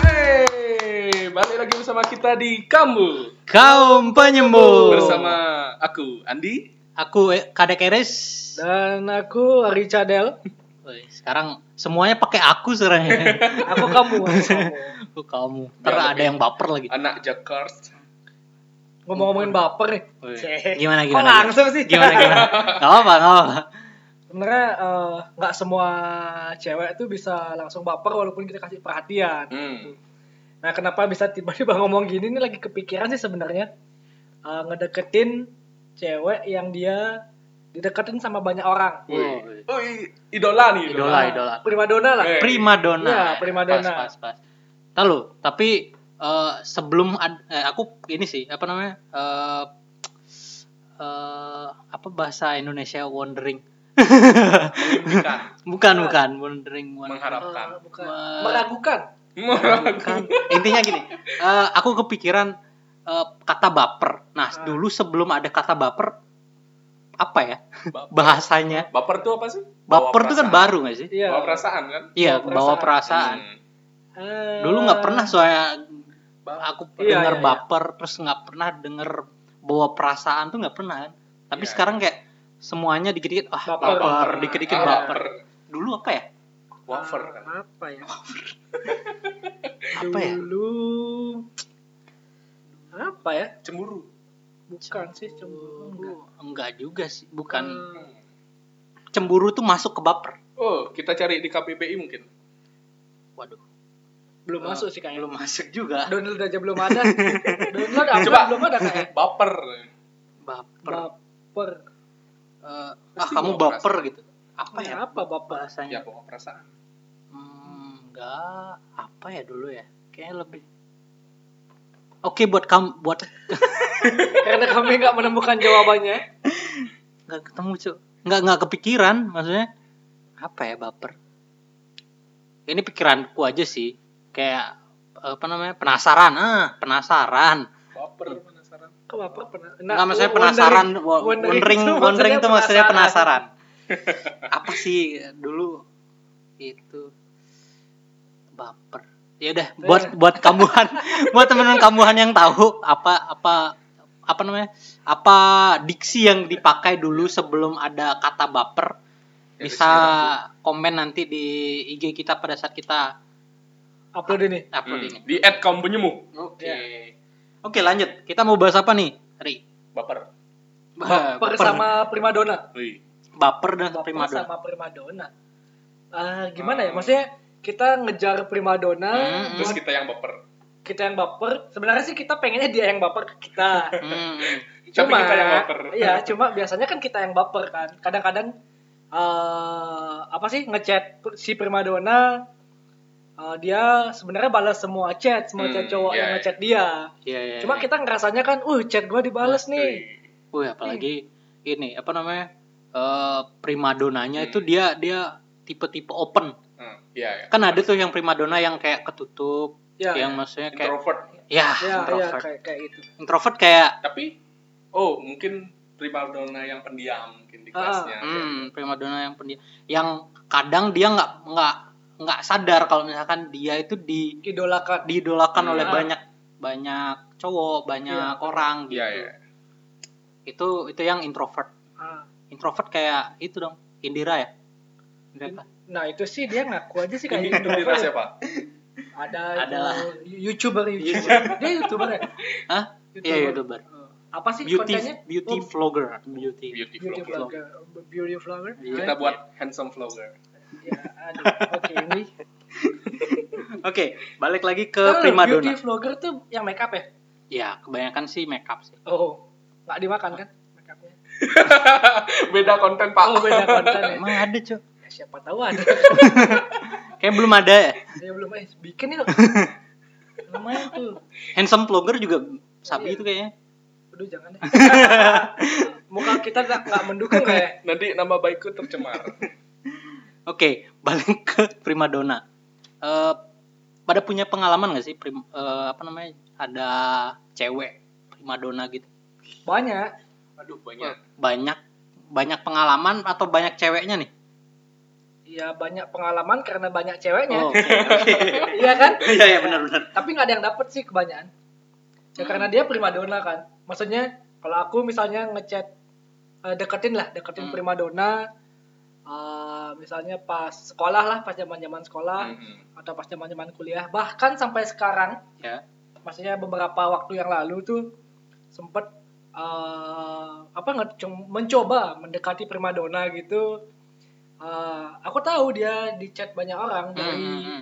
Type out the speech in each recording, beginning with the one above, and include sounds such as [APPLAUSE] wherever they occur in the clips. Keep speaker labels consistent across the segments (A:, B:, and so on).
A: Hey, balik lagi bersama kita di Kamu
B: Kaum penyembuh
A: bersama aku Andi
B: aku eh, Kadek Eris.
C: Dan aku Rica Del.
B: Woi, sekarang semuanya pakai aku sekarang.
A: [LAUGHS]
C: Aku kamu, aku kamu.
B: aku kamu. Ntar
A: Ya,
B: ada yang baper lagi.
A: anak Jakarta.
C: Ngomong-ngomongin baper nih.
B: Woi,
C: Cek.
B: Gimana
C: Kok
B: gimana?
C: langsung sih?
B: Gimana gimana? Gak apa
A: [LAUGHS]
B: gak apa.
C: Sebenarnya eh, nggak semua cewek tuh bisa langsung baper walaupun kita kasih perhatian.
A: Hmm.
C: Nah, kenapa bisa tiba-tiba ngomong gini ini lagi kepikiran sih sebenarnya. Eh, ngedeketin cewek yang dia dideketin sama banyak orang.
A: Woi, woi, idola nih.
B: Idola idola.
C: Primadona lah.
A: Eh.
B: Primadonna.
C: Iya, primadonna.
B: Pas pas pas. Tahu lu, tapi eh, sebelum ad- eh, aku ini sih apa namanya? Eh eh, apa bahasa Indonesia wondering?
A: Mimpikan, Iya.
B: Bukan bukan wondering wondering. [LAUGHS]
A: mengharapkan.
C: Eh, bukan.
B: Wah.
C: Meragukan.
A: Meragukan.
C: Kan,
B: [LAUGHS] intinya gini eh, aku kepikiran eh, kata baper nah
C: Ah.
B: dulu sebelum ada kata baper apa ya
A: Baper.
B: [LAUGHS] bahasanya
A: Baper tuh apa sih? Bawa
B: baper itu kan
A: perasaan.
B: baru gak sih
C: Iya.
A: Bawa perasaan kan?
B: iya
C: bawa
B: bawa perasaan
A: Hmm.
C: Eh,
B: dulu nggak pernah soalnya
A: Baper.
B: aku
C: Iya,
B: denger
C: iya, iya.
B: baper terus nggak pernah denger bawa perasaan tuh nggak pernah kan tapi
A: Iya.
B: sekarang kayak semuanya dikit-dikit ah
C: Baper.
B: baper,
C: Baper. Iya.
B: dikit-dikit
A: Ah,
B: baper dulu apa ya
C: Eh,
A: Wafer. kan?
C: Apa ya?
B: apa ya
C: Dulu apa ya?
A: Cemburu.
C: Bukan sih Eh, cemburu.
B: enggak juga sih
C: Hmm.
B: bukan cemburu tuh masuk ke baper
A: Oh, kita cari di KPBI mungkin.
B: waduh
C: belum
B: Eh,
C: masuk sih kayaknya.
B: belum masuk juga
C: Download aja belum ada. Download apa
A: Coba.
C: belum ada kayaknya.
A: Eh, Baper.
B: baper
C: Baper.
B: eh, ah
A: Pasti
B: kamu
A: bawa
B: baper gitu apa
C: Apa
B: ya
C: ya? Apa baper?
B: bahasanya
A: Ya bawa perasaan.
B: Hmm, enggak apa ya dulu ya kayaknya lebih oke buat kamu buat
C: Karena kami nggak menemukan jawabannya.
B: nggak ketemu cuk nggak nggak kepikiran maksudnya apa ya baper ini pikiranku aja sih kayak apa namanya penasaran ah penasaran
A: Baper penasaran.
C: Kok baper pernah?
B: nggak maksudnya
C: oh,
B: penasaran Nah, wo- [LAUGHS] wondering wondering itu maksudnya penasaran [LAUGHS] apa sih dulu itu baper ya udah buat buat [LAUGHS] kambuhan buat teman-teman kambuhan yang tahu apa apa apa namanya apa diksi yang dipakai dulu sebelum ada kata baper
A: Ya,
B: bisa
A: diksi
B: komen nanti di IG kita pada saat kita
C: Upload ini.
B: upload
A: Hmm.
B: ini
A: Di add kaum penyembuh.
B: oke oke lanjut kita mau bahas apa nih Ri
A: Baper.
B: Ba-
C: Baper sama primadona.
A: Wih.
B: baper dan
C: Baper
B: primadona
C: sama primadona. Ah, gimana ya? Maksudnya kita ngejar primadona,
B: Hmm,
A: Terus kita yang baper.
C: kita yang baper. Sebenarnya sih kita pengennya dia yang baper ke kita.
B: Hmm.
A: Tapi
C: cuma
A: kita yang baper.
C: iya cuma biasanya kan kita yang baper kan kadang-kadang eh apa sih ngechat si primadona eh, dia sebenarnya balas semua chat semua
A: Hmm,
C: chat cowok
A: iya,
C: yang
A: iya.
C: ngechat dia
B: Iya, iya,
C: cuma
B: iya.
C: kita ngerasanya kan uh chat gua dibales nih
B: Wih, apalagi ini apa namanya? eh primadonanya
A: Hmm.
B: itu dia dia tipe-tipe open.
A: Hmm, Iya, iya.
B: Kan ada tuh yang primadona yang kayak ketutup,
C: ya
B: yang maksudnya kayak
A: Introvert.
B: ya,
C: ya, ya
B: introvert.
C: kayak kayak gitu
B: Introvert kayak
A: Tapi oh, mungkin primadona yang pendiam mungkin di
C: Ah,
A: kelasnya.
B: hmm, primadona yang pendiam yang kadang dia nggak nggak nggak sadar kalau misalkan dia itu di
C: idolakan
B: diidolakan
A: Hmm.
B: oleh banyak banyak cowok, banyak orang gitu.
A: Iya, iya.
B: Itu itu yang introvert.
C: Ah.
B: Introvert kayak itu dong, Indira ya. Indira apa?
C: nah itu sih dia ngaku aja sih kayak
A: Ini
C: gitu.
A: ya,
C: introvert.
A: Indira siapa?
C: ada
B: Adalah.
C: itu, youtuber
A: Iya.
C: youtuber dia youtuber
A: [LAUGHS]
C: ya
B: Hah? Iya, YouTuber.
C: Eh, apa sih
B: beauty
C: kontennya
B: beauty
C: Oh,
B: vlogger beauty
A: Beauty
C: beauty
A: vlogger.
C: vlogger beauty vlogger
B: Iya.
A: Kita buat handsome vlogger.
C: Ya, aduh, oke ini.
B: oke balik lagi ke
C: Tahu
B: primadona
C: Beauty vlogger tuh yang make up ya?
B: ya kebanyakan sih makeup sih
C: Oh, nggak dimakan kan make upnya?
A: Beda konten, Pak.
C: Oh, [LAUGHS] beda konten
B: [LAUGHS]
C: ya.
B: emang ada cuy
C: Ya, siapa tahu ada.
B: kayak belum ada ya
C: Saya belum eh
B: [LAUGHS]
C: bikin yuk. Lumayan tuh.
B: handsome vlogger juga sabi
C: Iya.
B: itu kayaknya
C: Aduh,
B: [LAUGHS]
C: jangan deh. Muka kita nggak nggak mendukung kayak.
A: Nanti nama baikku tercemar.
B: Oke, balik ke primadona. Eh, pada punya pengalaman gak sih prim- eh, apa namanya ada cewek primadona gitu?
C: Banyak.
A: Aduh banyak.
B: Banyak banyak pengalaman atau banyak ceweknya nih?
C: Ya banyak pengalaman karena banyak ceweknya.
B: Oh, oke, oke.
C: Iya kan?
B: Iya iya benar benar.
C: Tapi nggak ada yang dapet sih kebanyakan. Ya karena dia primadona kan. Maksudnya kalau aku misalnya ngechat eh, deketin lah, deketin
B: Hmm.
C: primadona eh, misalnya pas sekolah lah, pas zaman-zaman sekolah
A: Mm-mm.
B: Hmm.
C: atau pas zaman-zaman kuliah, bahkan sampai sekarang
B: Ya.
C: maksudnya beberapa waktu yang lalu tuh sempet eh, apa nge- cum- mencoba mendekati primadona gitu Eh, aku tahu dia di chat banyak orang
B: Hmm,
C: dari
B: hmm, hmm.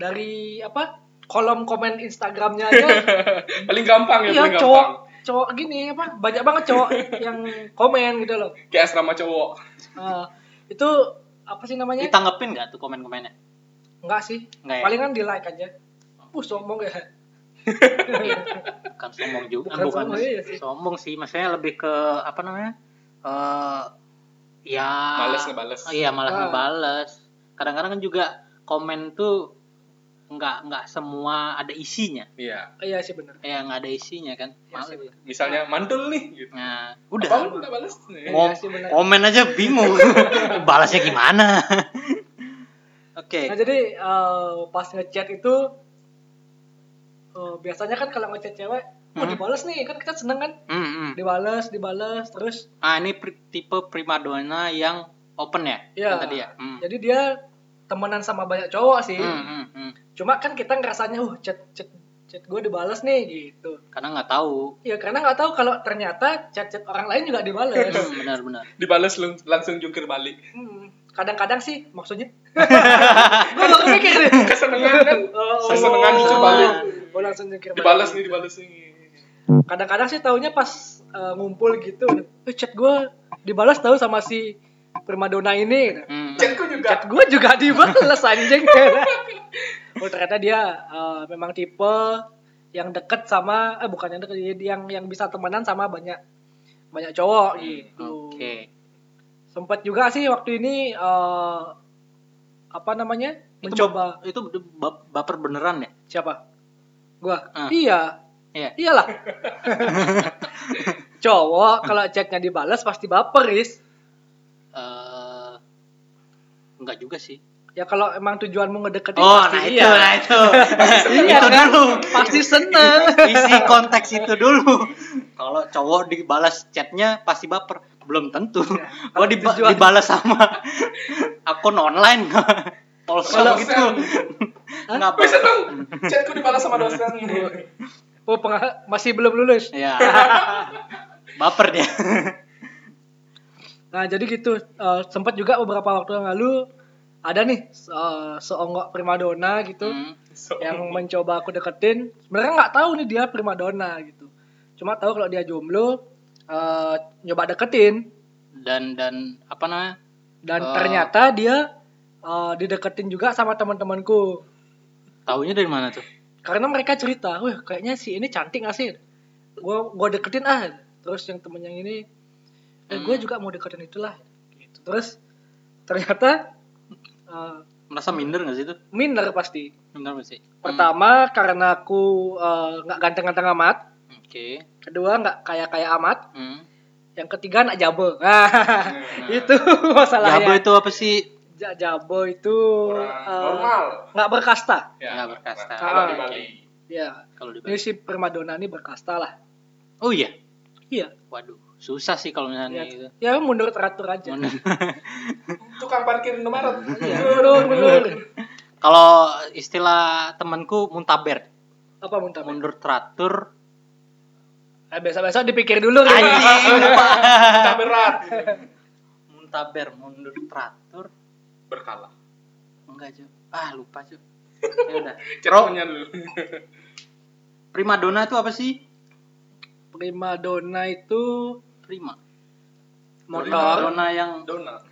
C: dari apa kolom komen
B: [LAUGHS]
C: Instagramnya aja
B: Iya,
A: Paling gampang ya,
C: iya
A: paling gampang.
C: cowok cowok gini apa banyak banget
B: [LAUGHS]
C: cowok yang komen gitu loh
A: Kayak asrama cowok.
C: Eh, itu apa sih namanya
B: hmm. Ditanggepin gak tuh komen-komennya?
C: enggak sih
B: Enggak ya?
C: palingan di like aja uh sombong ya
B: bukan sombong juga
C: Bukan
B: bukan,
C: sombong, iya sih.
B: sombong sih maksudnya lebih ke apa namanya eh ya
A: Males ngebales.
B: iya malas
C: Ah.
B: ngebales kadang-kadang kan juga komen tuh nggak nggak semua ada isinya
A: Iya.
C: iya sih bener
B: ya nggak ada isinya kan
C: Iya sih,
B: Males.
C: bener.
A: Misalnya mantul nih gitu.
B: nah
A: Apa
B: udah
A: lu nggak balas?
C: Iya
B: Ngom-
C: sih, bener.
B: komen aja bingung
C: [LAUGHS]
B: balasnya gimana oke
C: Nah jadi eh, pas ngechat itu eh, biasanya kan kalau ngechat cewek,
B: Hmm.
C: mau dibales nih kan kita seneng kan,
B: Hmm, hmm.
C: dibales, dibales terus.
B: ah ini pri- tipe primadona yang open ya
C: Iya.
B: yang tadi ya Hmm.
C: Jadi dia temenan sama banyak cowok sih.
B: Hmm, hmm, hmm.
C: Cuma kan kita ngerasanya, uh chat chat chat gue dibales nih gitu.
B: karena nggak tahu
C: Ya karena nggak tahu kalau ternyata chat chat orang lain juga dibales.
A: [LAUGHS]
B: Hmm, benar-benar
A: Dibales lu langsung jungkir balik.
C: Hmm, Kadang-kadang sih maksudnya. [LAUGHS] gue baru mikir nih.
A: Kesenengan kan?
C: gitu. Oh,
A: Kesenengan jungkir balik.
C: Gue langsung jungkir balik.
A: Dibales nih, dibales nih.
C: kadang-kadang sih taunya pas eh, ngumpul gitu eh, chat gue dibalas tahu sama si primadona ini gitu.
B: Hmm.
A: Chatku juga.
C: chat gue juga dibalas
B: [LAUGHS]
C: anjing oh ternyata dia eh, memang tipe yang deket sama eh bukan yang deket dia- yang yang bisa temenan sama banyak banyak cowok gitu
B: Hmm, Oke.
C: sempat juga sih waktu ini eh, apa namanya
B: Itu
C: mencoba
B: Itu ba- baper beneran ya?
C: siapa gua
B: Ah.
C: iya
B: Iya. [LAUGHS]
C: Iyalah. cowok kalau chatnya dibalas pasti baper, Is.
B: Eh, enggak juga sih.
C: Ya kalau emang tujuanmu ngedeketin
B: Oh,
C: pasti
B: nah itu,
C: iya.
B: nah
C: [LAUGHS]
B: itu.
C: Iya,
B: itu
C: kan?
B: dulu.
C: Pasti seneng.
B: Isi konteks itu dulu. Kalau cowok dibalas chatnya pasti baper. Belum [LAUGHS] tentu. Kalau diba-
C: tujuan-
B: dibalas sama akun [LAUGHS] online. Tolsel
A: Kalau-
B: gitu.
C: Hah?
B: Enggak
A: Bisa dong. Chatku dibalas sama dosen.
C: Oh, peng- masih belum lulus.
B: Ya. Baper dia.
C: Nah, jadi gitu. Eh, sempat juga beberapa waktu yang lalu ada nih eh, seonggok primadona gitu
B: Hmm.
A: So,
C: yang mencoba aku deketin. Sebenarnya nggak tahu nih dia primadona gitu. Cuma tahu kalau dia jomblo eh, nyoba deketin
B: Dan dan apa namanya?
C: dan
B: Oh.
C: ternyata dia eh, dideketin juga sama teman-temanku.
B: Taunya dari mana tuh?
C: karena mereka cerita, wah kayaknya si ini cantik gak sih? Gua gua deketin ah. Terus yang temen yang ini,
A: Hmm.
C: eh, gue juga mau deketin itulah. Gitu. Terus ternyata eh,
B: Merasa minder gak sih itu?
C: minder pasti.
B: Minder gak sih? Hmm.
C: Pertama karena aku eh, nggak ganteng-ganteng amat.
B: Oke.
C: Kedua nggak kaya-kaya amat.
B: Hmm.
C: Yang ketiga nggak jabo. [LAUGHS] Nah,
A: Hmm.
C: itu
B: Jabo
C: masalahnya.
B: itu apa sih?
C: Ja- Jabo itu
A: orang
C: eh,
A: normal.
C: nggak berkasta.
B: Nggak berkasta.
A: Kalau di
C: Ah,
A: Bali.
C: Ya,
B: Kalau di
C: ini si primadona ini berkasta lah.
B: Oh iya.
C: Iya.
B: Waduh, susah sih kalau misalnya gitu.
C: Ya, ya mundur teratur aja.
A: Tukang parkir Indomaret.
C: [LAUGHS] Iya, mundur, mundur.
B: kalau istilah temanku muntaber,
C: Apa muntah?
B: mundur teratur.
C: Eh, biasa-biasa dipikir dulu. Rin.
B: Anjing, lupa.
A: Kita berat.
B: muntaber, mundur teratur.
A: Berkala.
B: Enggak, Cuk. Ah, lupa, Cuk. Ya udah. [LAUGHS]
A: Cerohnya dulu.
B: Primadona itu apa sih?
C: Prima donna itu
B: Prima.
C: motor.
B: Primadona yang
A: Donat.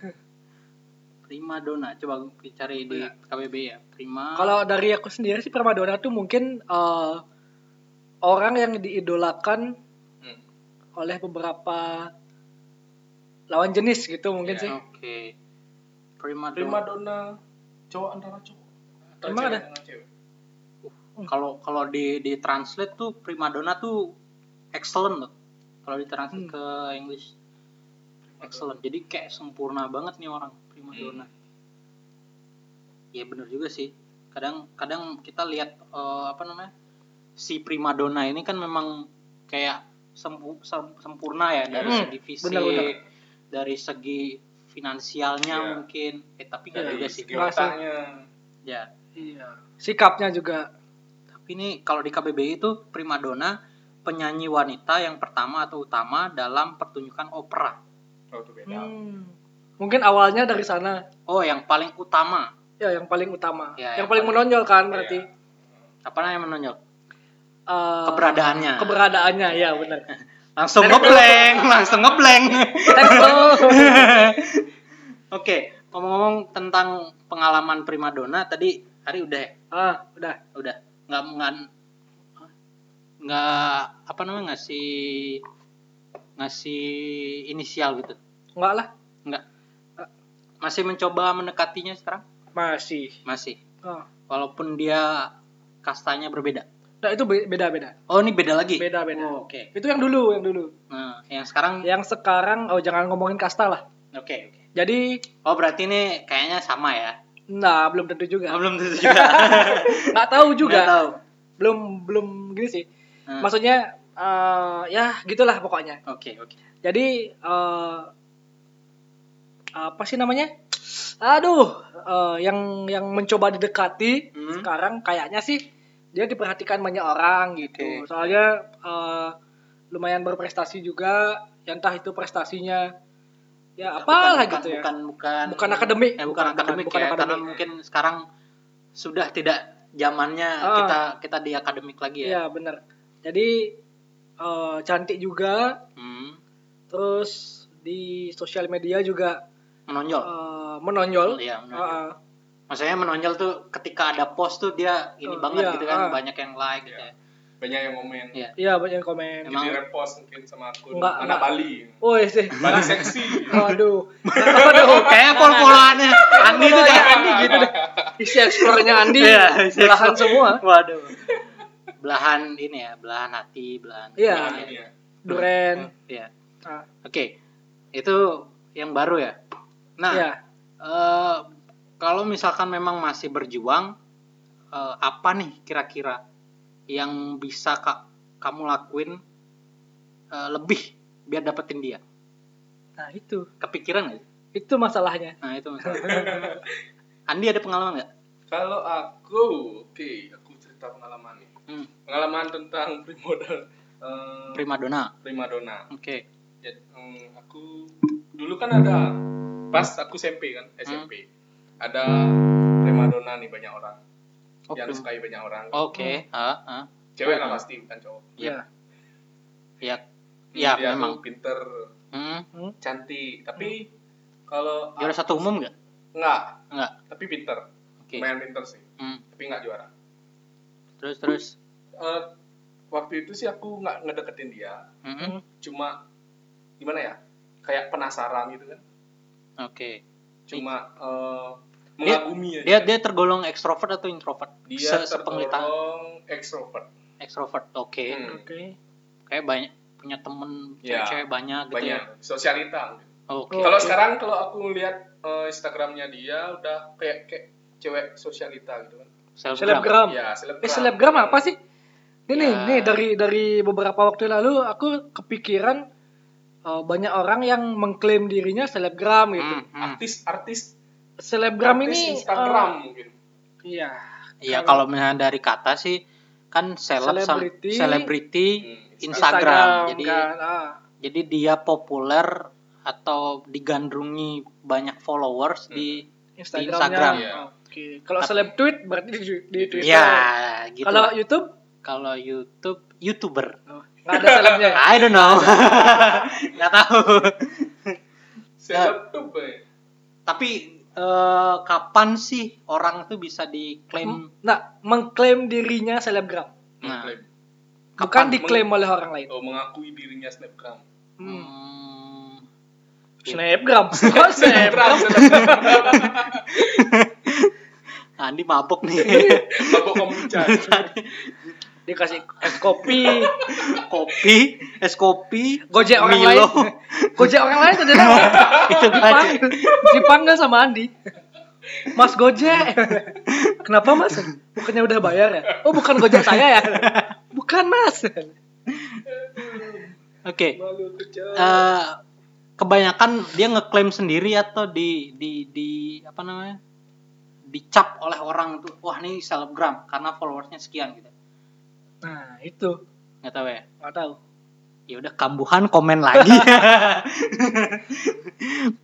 B: primadona. Coba aku cari di KBB ya. Prima.
C: Kalau dari aku sendiri sih prima donna tuh mungkin eh, orang yang diidolakan
A: Hmm.
C: oleh beberapa lawan jenis gitu mungkin
A: Iya.
C: sih.
B: Oke. Primadona prima
A: Prima
B: donna.
A: donna cowok antara cowok. Atau
C: Emang
A: cewek
C: ada?
A: antara cewek.
B: Hmm. Kalau kalau di di translate tuh prima donna tuh excellent loh. Kalau di translate
C: Hmm.
B: ke English excellent. Jadi kayak sempurna banget nih orang prima
A: Hmm.
B: donna. Ya bener juga sih. Kadang kadang kita lihat eh, apa namanya? si prima donna ini kan memang kayak sempu- sem- sempurna ya dari
A: Hmm,
B: segi fisik,
C: benar-benar.
B: dari segi finansialnya
A: Iya.
B: mungkin. Eh tapi nggak
A: Dari
B: juga sih.
A: segi
C: Nggak sih.
A: otaknya.
B: Ya.
C: Iya. Sikapnya juga.
B: Tapi ini kalau di KBBI itu primadona penyanyi wanita yang pertama atau utama dalam pertunjukan opera.
A: Oh, itu beda.
C: Hmm. Mungkin awalnya dari sana.
B: Oh, yang paling utama.
C: Ya, yang paling utama.
B: Ya, yang
C: yang, paling
B: paling-
C: menonjol kan berarti.
A: Iya.
B: Apa namanya menonjol?
C: Eh,
B: Keberadaannya.
C: Keberadaannya, ya benar.
B: langsung ngeblank, langsung ngeblank.
C: Thanks, Bro.
B: [LAUGHS] Oke, ngomong-ngomong tentang pengalaman primadona tadi hari udah ya?
C: ah, udah.
B: udah nggak nggak nggak apa namanya ngasih ngasih inisial gitu
C: Enggak lah.
B: nggak Eh, masih mencoba mendekatinya sekarang
C: Masih.
B: masih
C: Ah.
B: walaupun dia kastanya berbeda
C: Nah, itu be- beda-beda.
B: oh ini beda lagi
C: Beda-beda.
B: Oh, oke
C: Itu yang dulu, yang dulu.
B: nah yang sekarang oke
C: Yang sekarang oh jangan ngomongin kasta lah.
B: oke.
C: Jadi,
B: oh berarti ini kayaknya sama ya
C: nah belum tentu juga.
B: Oh, belum
C: [LAUGHS]
B: tentu juga
C: Nggak tahu juga.
B: Nggak tahu
C: Belum belum gini sih.
B: Nah, oke
C: Maksudnya eh, ya gitulah pokoknya.
B: oke
C: Jadi eh, apa sih namanya? Aduh, eh, yang yang mencoba didekati
B: Hmm.
C: sekarang kayaknya sih dia diperhatikan banyak orang gitu.
B: Oke.
C: Soalnya eh, lumayan berprestasi juga, yang entah itu prestasinya ya apalah
B: Bukan-
C: gitu ya.
B: bukan bukan
C: Bukan akademik.
B: eh, bukan, akademik
C: bukan
B: ya,
C: akademik.
B: karena mungkin sekarang sudah tidak zamannya
C: Ah.
B: kita kita di akademik lagi ya
C: Iya, benar. Jadi eh, cantik juga,
B: Hmm,
C: terus di sosial media juga
B: menonjol
C: eh, menonjol.
B: Oh. Iya, menonjol.
C: Ah, ah.
B: maksudnya menonjol tuh ketika ada post tuh dia ini
C: Oh,
B: banget
C: iya,
B: gitu kan
C: ah.
B: banyak yang like gitu ya
A: Banyak yang komen.
B: Iya.
C: Iya banyak yang komen.
B: Emang-
A: Jadi repost mungkin sama akun
C: Nggak,
A: anak
C: nggak.
A: Bali.
C: Woi
B: [LAUGHS]
C: sih.
A: Bali seksi.
C: Waduh.
B: aduh Oh,
C: Nah,
B: kayak pol-polannya Andi tuh kayak Andi gitu deh
C: Isi eksplornya Andi
B: Iya, isi
C: belahan
B: explore.
C: semua.
B: waduh belahan ini ya belahan hati belahan
C: Iya.
A: Nah, ini ya.
C: Duren.
B: Iya.
C: Ah,
B: oke itu yang baru ya nah
C: Iya.
B: Eh, kalau misalkan memang masih berjuang, eh, apa nih kira-kira yang bisa Kak, kamu lakuin eh, lebih biar dapetin dia?
C: Nah, itu.
B: Kepikiran nggak? sih?
C: Itu masalahnya.
B: Nah itu masalah. Andi ada pengalaman nggak?
A: Kalau aku, oke, aku cerita pengalaman nih.
B: Hmm,
A: Pengalaman tentang primodel eh,
B: primadona.
A: primadona.
B: Oke.
A: Jadi, em, eh, aku dulu kan ada pas aku SMP
B: Hmm.
A: kan, SMP. Ada primadona nih banyak orang
B: Oh,
A: yang
B: prim-
A: disukai banyak orang.
B: Oke. Ah, ah.
A: Cewek lah pasti bukan cowok.
B: Iya. Iya.
C: Iya.
B: Iya,
A: Dia tuh
B: memang.
A: pinter,
B: Hmm.
C: Hmm.
A: cantik, tapi kalau
B: Juara satu umum nggak?
A: enggak,
B: Nggak.
A: tapi pinter.
B: Oke.
A: Main pinter sih,
B: Hmm.
A: tapi enggak juara.
B: Terus terus.
A: Eh, waktu itu sih aku nggak ngedeketin dia,
B: Hmm,
A: cuma gimana ya? Kayak penasaran gitu kan.
B: Oke.
A: Cuma eh, mengagumi
B: Dia
A: aja.
B: dia tergolong ekstrovert atau introvert?
A: dia
B: Se- sepenglihatan.
A: tergolong ekstrovert.
B: Ekstrovert. Oke.
A: Hmm,
C: Oke.
B: kayak banyak punya temen
A: Ya.
B: cewek banyak
C: Ah,
B: gitu
A: banyak Oh,
B: ya
A: sosialita. mungkin.
B: oke
A: Kalau sekarang kalau aku lihat eh, Instagramnya dia udah kayak kayak cewek sosialita gitu kan.
B: selebgram Iya.
C: Selebgram.
A: Ya, selebgram.
C: Eh, selebgram apa sih? Ini nih,
B: Ya.
C: nih dari dari beberapa waktu lalu aku kepikiran eh, banyak orang yang mengklaim dirinya selebgram gitu.
B: Hmm, hmm.
A: Artis-artis
C: Selebgram
A: artis
C: ini
A: Instagram
C: eh,
A: mungkin.
C: iya.
B: iya kalau
C: Kalau-
B: misalnya dari kata sih kan seleb sam-
C: Selebriti.
B: selebriti
A: Hmm,
B: Instagram, jadi
C: kan, ah.
B: jadi dia populer atau digandrungi banyak followers
A: Hmm.
B: di
C: Instagramnya.
B: Instagram.
A: Iya.
C: Oke. Kalau seleb tweet berarti di, di Twitter.
B: ya gitu
C: Kalau
B: lah.
C: YouTube
B: kalau YouTube youtuber
C: nggak ada selebnya. [LAUGHS] ya?
B: I don't know [LAUGHS] nggak tahu
A: Selebgram. eh.
B: tapi eh, kapan sih orang tuh bisa diklaim
C: Nah, mengklaim dirinya selebgram,
B: Nah.
A: Mengklaim.
C: bukan
B: Kapan?
C: diklaim oleh orang lain.
A: Oh, mengakui dirinya selebgram.
C: Hmm.
B: Hmm,
C: [LAUGHS] Snapgram. Kok Snapgram?
A: [LAUGHS]
B: Nah, Andi mabok nih.
C: [LAUGHS]
A: Mabok kombucha.
C: Dikasih es kopi,
B: kopi, es kopi,
C: gojek orang lain.
B: Milo.
C: Gojek orang lain tuh
B: [LAUGHS]
C: dia [LAUGHS]
B: itu kan.
C: dipanggil, dipanggil sama Andi. Mas Gojek. Kenapa Mas? Bukannya udah bayar ya? Oh, bukan Gojek saya ya. Bukan Mas.
B: Oke.
A: Malu kerja.
B: Eh, kebanyakan dia ngeklaim sendiri atau di di di apa namanya? dicap oleh orang tuh wah nih selebgram karena followersnya sekian gitu
C: Nah, itu.
B: nggak tahu ya
C: Gak tahu.
B: ya udah kambuhan komen
C: [LAUGHS]
B: lagi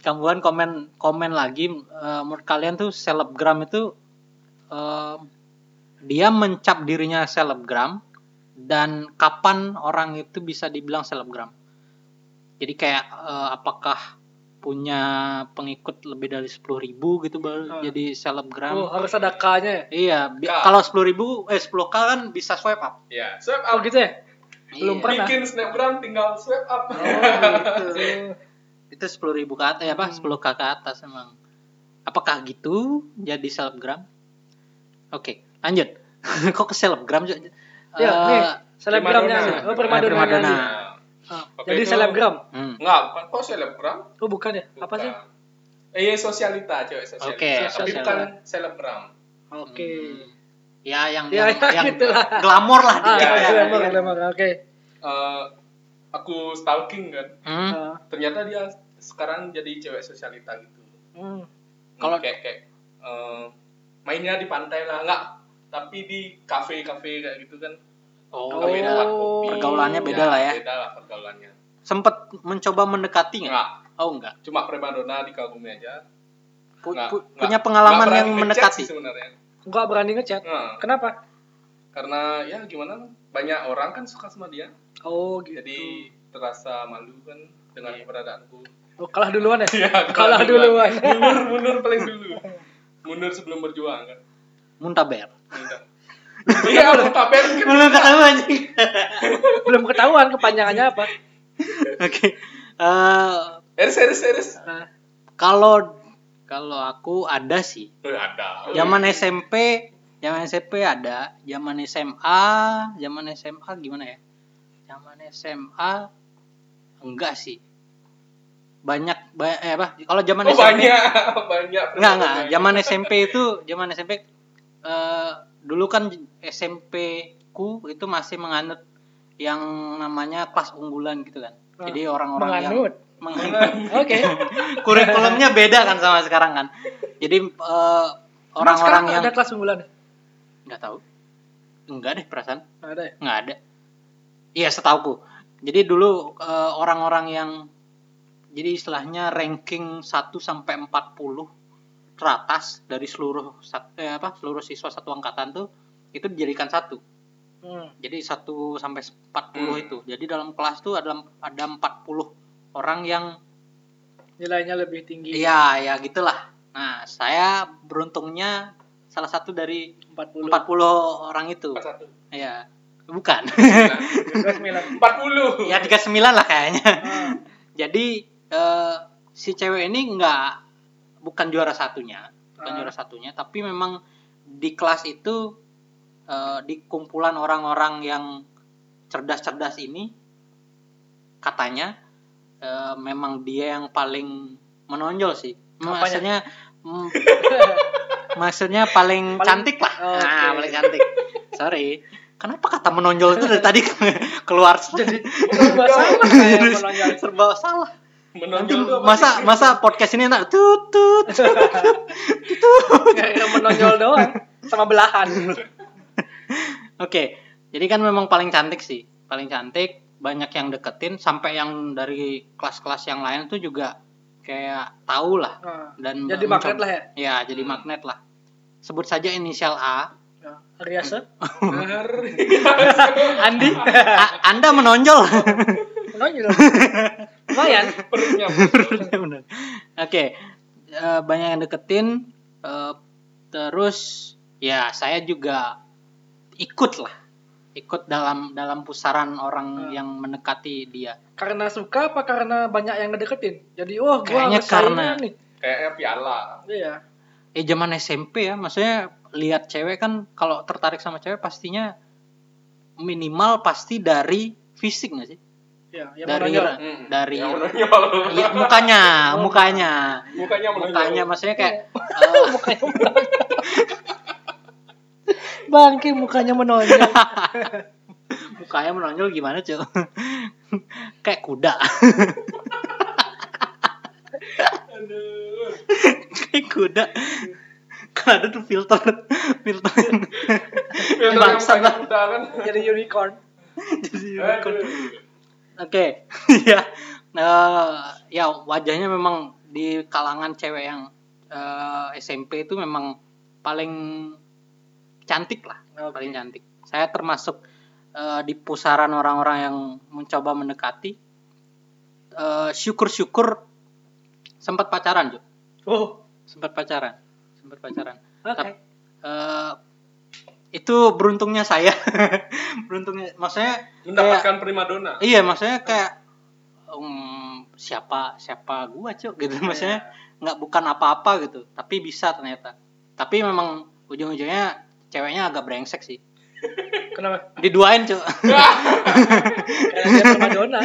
B: kambuhan komen komen lagi Eh, menurut kalian tuh selebgram itu eh, dia mencap dirinya selebgram dan kapan orang itu bisa dibilang selebgram jadi kayak eh, apakah punya pengikut lebih dari 10.000 ribu gitu baru
C: Ah.
B: jadi selebgram
C: Oh, harus ada K-nya ya?
B: iya bi-
A: K.
B: kalau 10.000 eh 10k kan bisa swipe up
A: Ya, swipe
C: Oh,
A: up.
C: gitu [LAUGHS] ya?
B: Iya.
C: Belum pernah.
A: Bikin snapgram tinggal swipe up.
B: Oh, gitu. itu sepuluh ribu ke atas ya apa
C: Hmm.
B: sepuluh k ke atas emang apakah gitu jadi selebgram oke lanjut [LAUGHS] kok ke selebgram Jo?
C: Ya,
B: Eh,
C: nih, selebgramnya.
A: primadona.
C: Oh, primadona.
B: Primadona.
C: Andi.
A: Nah,
C: Ah,
A: Oke,
C: jadi
A: itu-
C: selebgram.
B: hmm,
A: Enggak, bukan kok selebgram.
C: Oh, bukan ya? Apa sih?
A: Bukan. Eh, sosialita, cewek sosialita.
B: Oke,
A: Tapi
C: sosialita.
A: bukan selebgram.
C: Oke.
B: ya yang
C: Ya,
B: yang,
C: [LAUGHS] ya,
B: yang
C: gitu lah.
B: glamor lah
C: Ah,
B: dikit
A: Iya,
B: ya.
C: glamour, glamour. Oke.
A: Eh, aku stalking kan.
B: Hmm,
C: Ah,
A: Ternyata dia sekarang jadi cewek sosialita gitu.
C: hmm.
A: Kalau
B: Kalau-
A: kayak kayak eh, mainnya di pantai lah, enggak. Tapi di kafe-kafe kayak gitu kan.
B: oh,
A: Kafe tempat kopi.
B: Pergaulannya beda lah ya.
A: Beda lah pergaulannya.
B: sempet mencoba mendekati nggak
A: Enggak,
B: oh enggak
A: cuma primadona dikagumi aja.
B: Pu-
A: Nggak,
B: pu-
A: nggak.
B: punya pengalaman
A: Nggak
B: yang
A: berani ngechat sih
B: mendekati
A: sebenarnya.
C: Nggak berani ngechat.
A: Nah,
C: Kenapa?
A: karena ya gimana banyak orang kan suka sama dia.
C: Oh, gitu.
A: Jadi terasa malu kan dengan keberadaanku.
C: Oh, kalah duluan ya?
A: [LAUGHS] Iya,
C: kalah duluan.
A: mundur, mundur paling dulu. Mundur sebelum berjuang kan.
B: muntaber [LAUGHS]
A: Enggak. Iya, mau taber kan.
B: belum ketemu anjing
C: [LAUGHS] Belum ketahuan kepanjangannya apa.
B: oke Eh,
A: Eris, eris, eris.
C: Nah,
B: kalau kalau aku ada sih
A: Eh, ada.
B: Zaman SMP, zaman SMP ada, zaman SMA, zaman SMA gimana ya? Zaman SMA enggak sih. Banyak ba- eh apa? Kalau zaman
A: Oh,
B: SMP
A: banyak, banyak.
B: enggak enggak, zaman SMP itu zaman SMP eh, dulu kan SMP ku itu masih menganut yang namanya kelas unggulan gitu kan.
A: Ah,
B: Jadi orang-orang yang
C: menganut.
B: menganut [LAUGHS]
C: Oke.
B: kurikulumnya beda kan sama sekarang kan. Jadi eh,
C: Emang sekarang
B: orang-orang yang
C: ada kelas unggulan. ya?
B: nggak tahu enggak deh perasaan
C: Nggak Ada ya?
B: nggak ada iya setauku jadi dulu eh, orang-orang yang jadi istilahnya ranking 1 sampai 40 teratas dari seluruh sat- eh, apa seluruh siswa satu angkatan tuh itu dijadikan satu
C: Hmm.
B: jadi 1 sampai 40
A: Hmm.
B: itu jadi dalam kelas tuh ada ada 40 orang yang
C: Nilainya lebih tinggi.
B: iya ya gitulah nah saya beruntungnya salah satu dari
C: 40.
B: 40 orang itu Iya, bukan.
C: Kelas
B: [LAUGHS]
C: 9.
A: Nah, Empat puluh.
B: ya 39 lah kayaknya.
C: Ah, [LAUGHS]
B: Jadi eh, si cewek ini nggak bukan juara satunya, bukan
C: Ah.
B: juara satunya, tapi memang di kelas itu eh, di kumpulan orang-orang yang cerdas-cerdas ini katanya eh, memang dia yang paling menonjol sih.
C: Apanya?
B: Maksudnya mm, maksudnya paling,
C: Paling-
B: cantik lah.
C: Oh,
B: Nah,
C: oke.
B: paling cantik. Sorry. Kenapa kata menonjol itu dari tadi [LAUGHS]
C: [LAUGHS]
B: keluar jadi
C: Serba salah saya menonjol.
B: serba salah. Nanti
A: Menonjol tuh apa
B: masa
A: sih?
B: masa podcast ini enak tutut.
C: Nggak [LAUGHS] menonjol doang sama belahan.
B: Oke, jadi kan memang paling cantik sih, paling cantik, banyak yang deketin sampai yang dari kelas-kelas yang lain tuh juga kayak tahu lah
C: Ah,
B: dan
C: Jadi
B: mencoba-
C: magnet lah ya.
B: Ya, jadi
A: Hmm.
B: magnet lah. Sebut saja inisial A.
C: Ah, Riasa
B: [LAUGHS]
A: Hari.
B: Andi, A- Anda menonjol.
C: menonjol.
B: [LAUGHS]
C: Lumayan.
A: Perutnya.
B: Bener. Oke, eh, banyak yang deketin. eh, terus ya saya juga ikut lah ikut dalam dalam pusaran orang yang mendekati dia.
C: Karena suka apa karena banyak yang ngedeketin? Jadi wah gua
B: Kayaknya
C: harus saingan
B: karena.
C: nih.
A: Kayaknya piala.
C: Iya.
B: Eh zaman SMP ya, maksudnya lihat cewek kan kalau tertarik sama cewek pastinya minimal pasti dari fisik nggak sih?
C: Iya, yang
B: Dari-
C: menonjol.
A: Hmm.
B: Dari-
A: Yang menonjol. [LAUGHS]
B: Iya, mukanya, mukanya.
A: Mukanya menonjol.
B: Mukanya maksudnya kayak eh,
C: Mukanya menonjol. Bangke mukanya menonjol.
B: mukanya menonjol gimana cuy [LAUGHS] kayak kuda
A: Aduh.
B: kayak kuda kan ada tuh filter filter yang
A: Filter yang
B: Bangsat
A: pakai
B: iya, lah.
A: kuda kan.
C: [LAUGHS] Jadi unicorn.
B: jadi unicorn.
A: Aduh.
B: oke ya Eh, ya wajahnya memang di kalangan cewek yang eh, SMP itu memang paling cantik lah paling cantik saya termasuk eh, di pusaran orang-orang yang mencoba mendekati Eh, syukur-syukur sempat pacaran Ju.
C: Oh,
B: sempat pacaran sempat pacaran
C: oke.
B: Tap- eh, itu beruntungnya saya [LAUGHS] beruntungnya maksudnya
A: Mendapatkan primadona.
B: iya maksudnya kayak mm, siapa siapa gua cok gitu
C: Iya.
B: maksudnya nggak bukan apa-apa gitu tapi bisa ternyata tapi memang ujung-ujungnya ceweknya agak brengsek sih
C: Kenapa?
B: diduain cok
C: Kayak dia Madonna.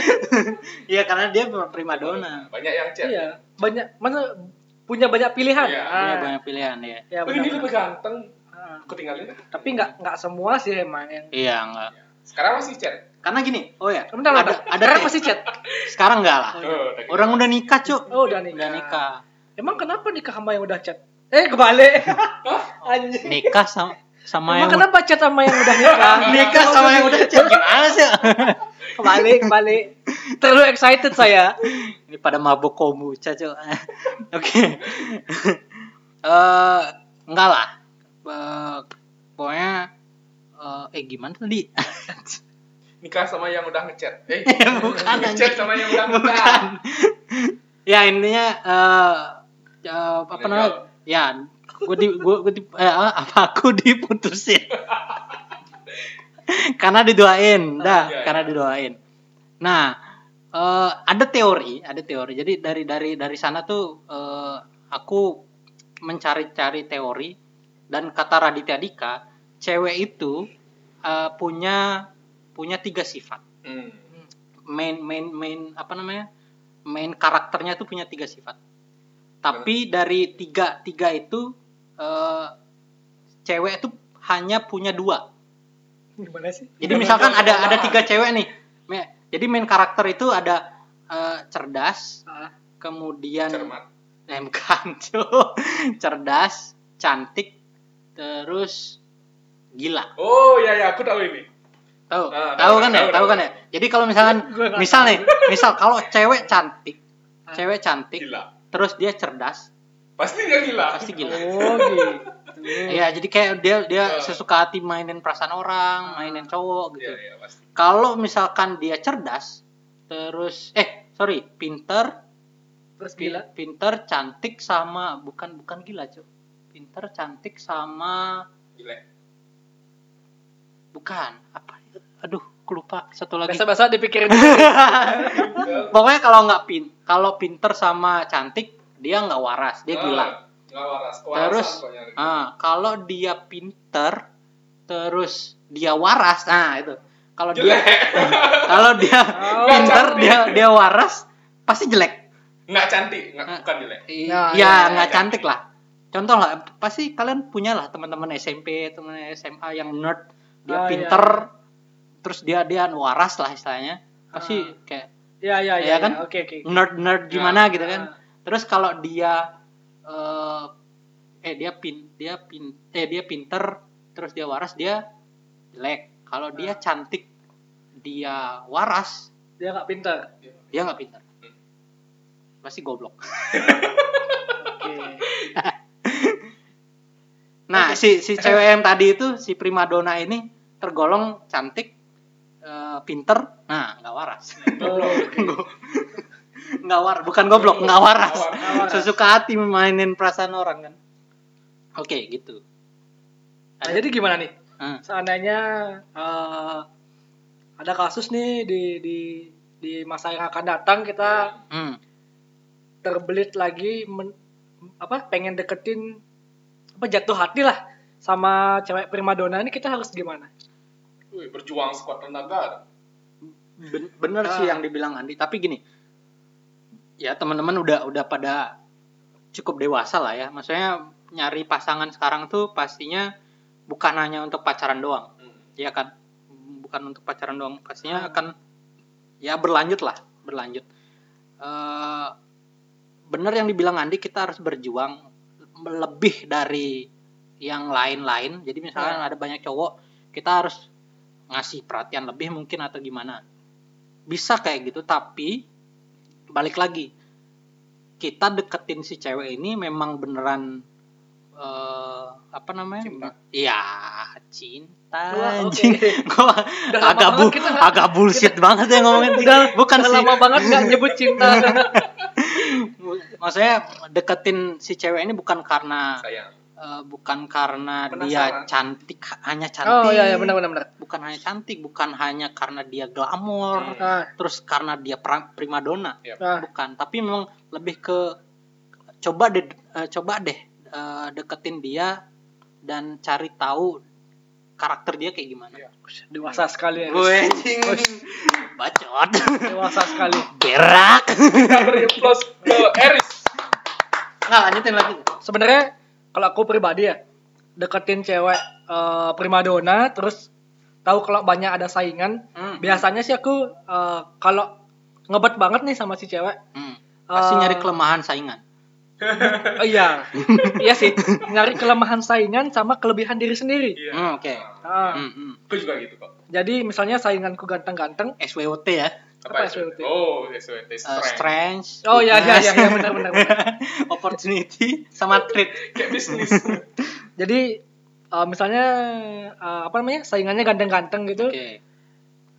B: [LAUGHS] iya karena dia primadona
A: Banyak yang chat.
C: Iya. Banyak mana punya banyak pilihan.
A: Iya,
C: Ah,
B: punya banyak pilihan ya
C: Iya,
A: Oh,
C: benar.
A: ini lebih ganteng.
C: Ah.
A: Aku tinggalin dah.
C: Tapi nggak nggak semua sih emang yang
B: iya enggak
A: Sekarang masih chat.
B: karena gini oh ya
C: Bentar,
B: ada
C: bentar.
B: ada
C: Sekarang
B: teh.
C: masih chat.
B: sekarang enggak lah
A: Oh, udah.
B: iya. orang udah nikah cok
C: Oh, udah nikah.
B: udah nikah
C: [LAUGHS] Emang kenapa nikah sama yang udah chat? Eh, kebalik. Anjing.
B: nikah sama sama
C: Emang
B: yang
C: kenapa chat sama yang udah nikah?
B: [LAUGHS] nikah sama yang udah cek gimana sih [LAUGHS]
C: Kebalik, kebalik. Terlalu excited saya.
B: ini pada mabuk kombucha cok [LAUGHS] oke [LAUGHS] Eh, enggak lah Eh, pokoknya eh, eh gimana tadi
A: Nikah sama yang udah
B: [LAUGHS]
A: ngechat. Eh,
B: Iya, bukan,
A: Ngechat sama yang udah
B: bukan
A: ngechat.
B: ya intinya eh eh, apa namanya ya gue di gue gue di eh, apa aku
A: [LAUGHS]
B: diputusin karena didoain dah
A: Iya,
B: karena
A: iya.
B: didoain nah eh, ada teori ada teori jadi dari dari dari sana tuh eh, aku mencari-cari teori dan kata Raditya Dika cewek itu eh, punya punya tiga sifat
A: Hmm.
B: main main main apa namanya main karakternya itu punya tiga sifat tapi dari tiga tiga itu eh, cewek itu hanya punya dua
C: Gimana sih?
B: jadi
A: Bukan
B: misalkan
A: menjawab
B: ada ada
A: pertanyaan.
B: tiga cewek nih Me- jadi main karakter itu ada eh, cerdas
C: Ah,
B: kemudian
A: Cermat.
B: [LAUGHS] eh, bukan, cuy. cerdas cantik terus gila
A: Oh, ya ya, aku tahu ini.
B: tahu
A: Ah,
B: tahu
A: tahu,
B: kan ya
A: tahu,
B: tahu
A: tahu.
B: kan ya jadi kalau misalkan
C: Gua nggak
B: misal nih misal kalau cewek cantik
C: Ah.
B: cewek cantik
A: Gila.
B: terus dia cerdas
A: Pasti dia gila.
B: pasti gila
C: Oh, gitu.
B: Iya, jadi kayak dia dia
A: Ah.
B: sesuka hati mainin perasaan orang mainin
A: Iya,
B: cowok gitu
A: iya, pasti.
B: kalau misalkan dia cerdas terus eh sorry pinter
C: Terus
B: pi-
C: gila.
B: pinter cantik sama bukan bukan gila cuy pinter cantik sama [LAUGHS]
A: Gila.
B: bukan apa ya? aduh kelupa satu lagi
C: Biasa-biasa dipikirin.
B: [LAUGHS] Iya, pokoknya kalau nggak pin kalau pinter sama cantik dia nggak waras dia
A: Ah.
B: gila
A: Enggak waras. Kewarasan
B: terus
A: pokoknya.
B: ah, kalau dia pinter terus dia waras nah itu kalau dia
A: Jelek.
B: [LAUGHS] kalau dia
C: Oh,
B: pinter
A: cantik.
B: dia dia waras pasti jelek
A: Enggak cantik, enggak
B: Ah.
A: bukan jelek.
B: I-
C: Nah, iya,
B: ya
C: iya,
B: nggak
A: iya.
B: cantik lah contoh lah pasti kalian punya lah teman-teman SMP teman SMA yang nerd dia
C: Oh, iya.
B: pinter terus dia dia waras lah istilahnya pasti
C: Ah.
B: kayak
C: Ya,
B: Iya
C: ya, ya.
B: kan?
C: ya. Oke, oke.
B: nerd nerd gimana gitu kan
C: Ah.
B: terus kalau dia eh, eh dia pin dia pin eh dia pinter terus dia waras dia jelek kalau dia cantik dia waras
C: Dia nggak pintar.
B: dia nggak pinter pasti goblok [LAUGHS]
C: Oke.
B: nah si si cewek yang tadi itu si primadona ini tergolong cantik eh, pinter nah [LAUGHS] nggak waras [LAUGHS]
C: Oh,
B: nggak war bukan goblok nggak waras
A: Nggak
C: waras.
B: sesuka hati mainin perasaan orang kan oke gitu
C: Nah, jadi gimana nih?
B: Hmm.
C: seandainya eh, ada kasus nih di di di masa yang akan datang kita
B: Hmm.
C: terbelit lagi men- apa pengen deketin apa jatuh hati lah sama cewek primadona ini kita harus gimana?
A: Wih, berjuang sekuat tenaga.
B: Ben- bener sih
C: Ah.
B: yang dibilang Andi tapi gini ya teman-teman udah udah pada cukup dewasa lah ya maksudnya nyari pasangan sekarang tuh pastinya bukan hanya untuk pacaran doang
A: Hmm.
B: ya kan bukan untuk pacaran doang pastinya
C: Hmm.
B: akan ya berlanjut lah berlanjut Eh, bener yang dibilang Andi kita harus berjuang lebih dari yang lain-lain jadi misalkan ada banyak cowok kita harus ngasih perhatian lebih mungkin atau gimana bisa kayak gitu tapi balik lagi kita deketin si cewek ini memang beneran eh, apa namanya
A: Cinta.
B: ya cinta
C: Wah, oke. [LAUGHS]
B: anjing [LAUGHS] Gua
C: Udah lama
B: agak bu
C: banget kita nggak-
B: agak bullshit banget ya ngomongin cinta bukan
C: Udah
B: sih
C: lama banget nggak nyebut cinta.
B: maksudnya deketin si cewek ini bukan karena
A: Sayang.
B: eh, bukan karena
A: Penasaran.
B: dia cantik hanya cantik
C: oh iya iya benar benar benar.
B: bukan hanya cantik bukan hanya karena dia glamor
A: Hmm.
C: Ah,
B: terus karena dia pra- primadona
C: ah,
B: bukan tapi memang lebih ke coba deh eh, coba deh eh, deketin dia dan cari tahu karakter dia kayak gimana
A: Iya.
C: dewasa sekali ya.
B: Gue anjing.
C: Ush.
B: bacot [LAUGHS]
C: Dewasa sekali. [LAUGHS]
B: berak
A: Kita beri plus ke Eris.
C: Nah,
B: nggak lanjutin lanjutin
C: sebenarnya kalau aku pribadi ya deketin cewek eh, primadona terus tahu kalau banyak ada saingan
B: Hmm.
C: biasanya sih aku eh, kalau ngebet banget nih sama si cewek
B: [LAUGHS] Hmm. Pasti
C: Eh,
B: nyari kelemahan saingan.
C: oh iya iya sih nyari kelemahan saingan sama kelebihan diri sendiri
A: Iya.
B: Hmm, oke.
C: Ah,
B: Hmm, hmm.
A: Aku juga gitu kok.
C: jadi misalnya sainganku ganteng-ganteng
B: SWOT ya.
C: Apa SWOT?
A: Oh, SWT.
B: Eh,
A: Strength.
B: strength.
C: oh iya iya iya
B: weakness,
C: iya, benar benar benar.
B: [LAUGHS] opportunity sama treat.
A: Kayak bisnis.
C: jadi eh, misalnya eh, apa namanya saingannya ganteng-ganteng gitu
B: Oke.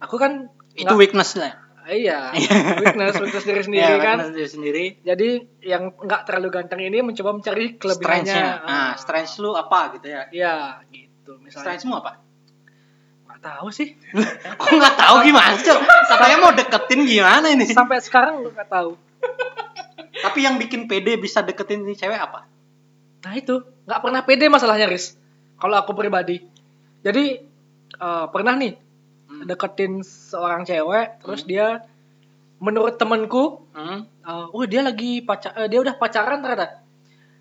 C: aku kan
B: Itu
C: nggak-
B: weakness lah. [LAUGHS]
C: iya weakness weakness diri sendiri
B: Ya,
C: kan
B: weakness diri sendiri.
C: Jadi yang nggak terlalu ganteng ini mencoba mencari kelebihannya. ah.
B: Strength-nya. Nah, strength lu apa gitu ya?
C: Iya, gitu. Misalnya
B: Strength mu apa?
C: nggak tahu sih.
B: [LAUGHS] Kok nggak tahu gimana sih?
C: [LAUGHS]
B: Katanya mau deketin gimana ini?
C: Sampai sekarang lu nggak tahu.
B: Tapi yang bikin pede bisa deketin si cewek apa?
C: Nah itu nggak pernah pede masalahnya, Riz. Kalau aku pribadi. Jadi eh, pernah nih
B: Hmm.
C: deketin seorang cewek, terus
B: Hmm.
C: dia menurut temanku,
B: Hmm.
C: eh, oh dia lagi pacar, eh, dia udah pacaran ternyata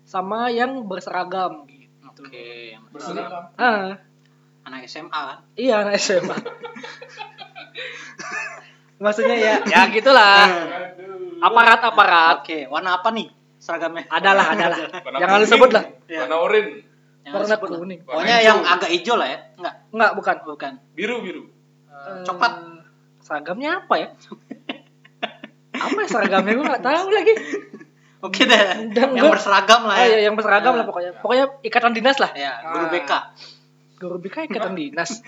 C: sama yang berseragam gitu.
B: Oke. yang
A: Bersenang.
C: Ah,
B: Anak SMA kan?
C: iya anak SMA.
B: [LAUGHS]
C: Maksudnya ya,
B: [LAUGHS]
C: ya gitulah.
A: Aduh.
C: aparat-aparat
B: Oke, warna apa nih seragamnya?
C: adalah adalah
A: Warna
C: jangan
A: kuning.
C: disebut lah
B: Iya.
A: Warna oren.
B: Yang
C: warna
B: disebut lah.
C: kuning
B: Pokoknya
A: Warna
B: yang
A: hijau.
B: agak hijau lah ya. Enggak,
C: enggak bukan
B: bukan.
A: Biru-biru.
B: Eh,
C: Eh,
B: coklat.
C: seragamnya apa ya [LAUGHS] apa ya seragamnya gue nggak tahu lagi
B: Oke deh.
C: Hmm. Dan
B: yang
C: gua-
B: berseragam lah
C: ah,
B: ya.
C: ya, yang berseragam
B: Ah.
C: lah pokoknya pokoknya ikatan dinas lah
B: Ya, guru
C: Ah.
B: BK.
C: guru BK ikatan dinas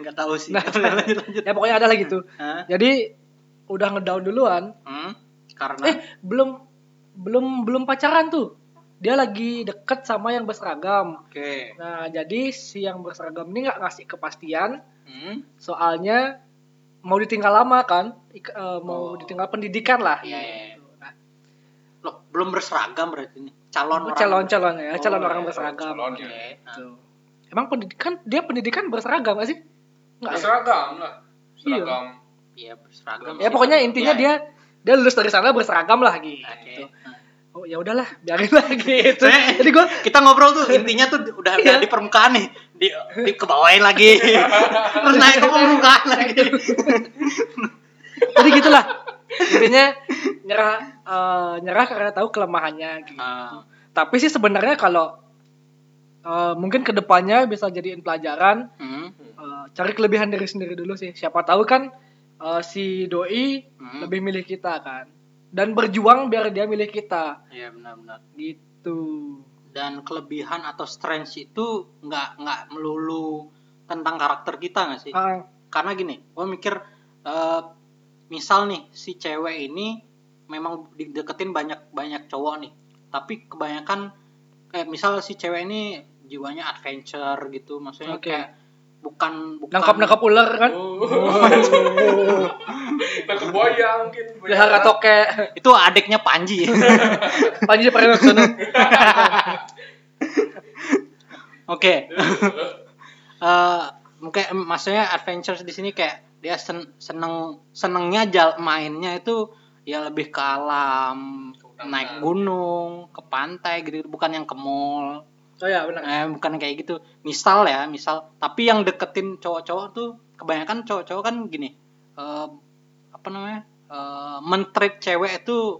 B: Enggak tahu sih.
C: Nah.
B: [LAUGHS] lanjut lanjut.
C: ya pokoknya ada lah gitu
B: Hah?
C: jadi udah ngedown duluan
B: Hmm? Karena
C: eh belum belum belum pacaran tuh dia lagi deket sama yang berseragam
B: oke.
C: nah jadi si yang berseragam ini nggak ngasih kepastian
B: Hmm?
C: soalnya mau ditinggal lama kan Ik- eh,
B: Oh.
C: mau ditinggal pendidikan lah
B: Iya, iya, iya.
C: Gitu. Nah,
B: Loh, belum berseragam berarti ini. Calon orang.
C: calon calon ya calon
A: Oh,
C: orang
A: iya,
C: berseragam
A: calonnya.
B: Oke. Nah.
C: Gitu. emang pendidikan dia pendidikan berseragam gak sih Nggak ya?
A: Berseragam lah. Seragam.
B: Iya, berseragam.
C: ya
B: sih.
C: pokoknya intinya
B: Iya,
C: dia dia lulus dari sana berseragam lah gitu
B: iya. Oke. Eh. Nah.
C: oh ya udahlah biarin lah [LAUGHS] gitu
B: Sebenarnya
C: jadi gue
B: kita ngobrol tuh intinya tuh udah udah
C: Iya.
B: di permukaan nih di, di kebawain
C: [LAUGHS]
B: lagi terus naik ke permukaan lagi
C: Iya. jadi gitulah intinya nyerah eh, nyerah karena tahu kelemahannya gitu
B: Ah,
C: tapi sih sebenarnya kalau eh, mungkin kedepannya bisa jadiin pelajaran
B: hmm,
C: Eh, cari kelebihan dari sendiri dulu sih. Siapa tahu kan eh, si doi
B: hmm.
C: lebih milih kita kan. Dan berjuang biar dia milih kita
B: Iya benar-benar.
C: gitu.
B: Dan kelebihan atau strength itu nggak nggak melulu tentang karakter kita nggak sih?
C: Ah,
B: Karena gini, gue mikir eh, misal nih si cewek ini memang dideketin banyak banyak cowok nih, tapi kebanyakan kayak misal eh, si cewek ini jiwanya adventure gitu maksudnya
C: Oke.
B: kayak bukan bukan
C: nangkap nangkap ular kan
A: [LAUGHS] Kita ke Oh. buaya mungkin. buaya.
C: pelihara tokek
B: itu adiknya Panji [LAUGHS]
C: panji pernah ke sana
B: oke Eh, mungkin em, maksudnya adventures di sini kayak dia sen- seneng senengnya jal mainnya itu ya lebih ke alam
A: Keutamaan.
B: naik gunung ke pantai gitu bukan yang ke mall
C: oh ya benar
B: eh, bukan kayak gitu misal ya misal tapi yang deketin cowok-cowok tuh kebanyakan cowok-cowok kan gini eh, apa namanya eh mentreat cewek itu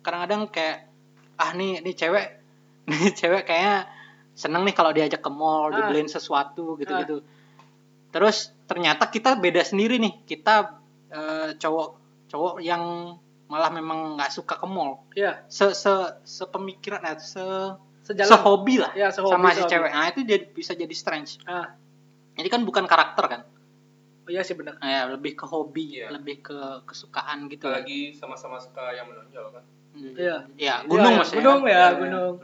B: kadang-kadang kayak ah nih nih cewek [LAUGHS] nih cewek kayaknya seneng nih kalau diajak ke mall
C: Ah.
B: dibeliin sesuatu gitu-gitu terus ternyata kita beda sendiri nih kita eh, cowok cowok yang malah memang nggak suka ke mall
C: ya
B: se se sepemikiran eh, se
C: sejalan
B: sehobi lah
C: ya sehobi,
B: sama si
C: sehobi.
B: cewek. Nah, itu jadi bisa jadi strange.
C: ah
B: Ini kan bukan karakter kan.
C: oh ya sih benar
B: Nah, ya, lebih ke hobi,
A: Iya.
B: lebih ke kesukaan gitu.
A: [LAUGHS] Kita lagi sama-sama suka yang menonjol kan.
B: Hmm.
C: Iya.
B: Ya, gunung
C: Iya, iya.
B: maksudnya.
C: Gunung
B: kan?
C: ya,
B: Iya,
C: gunung.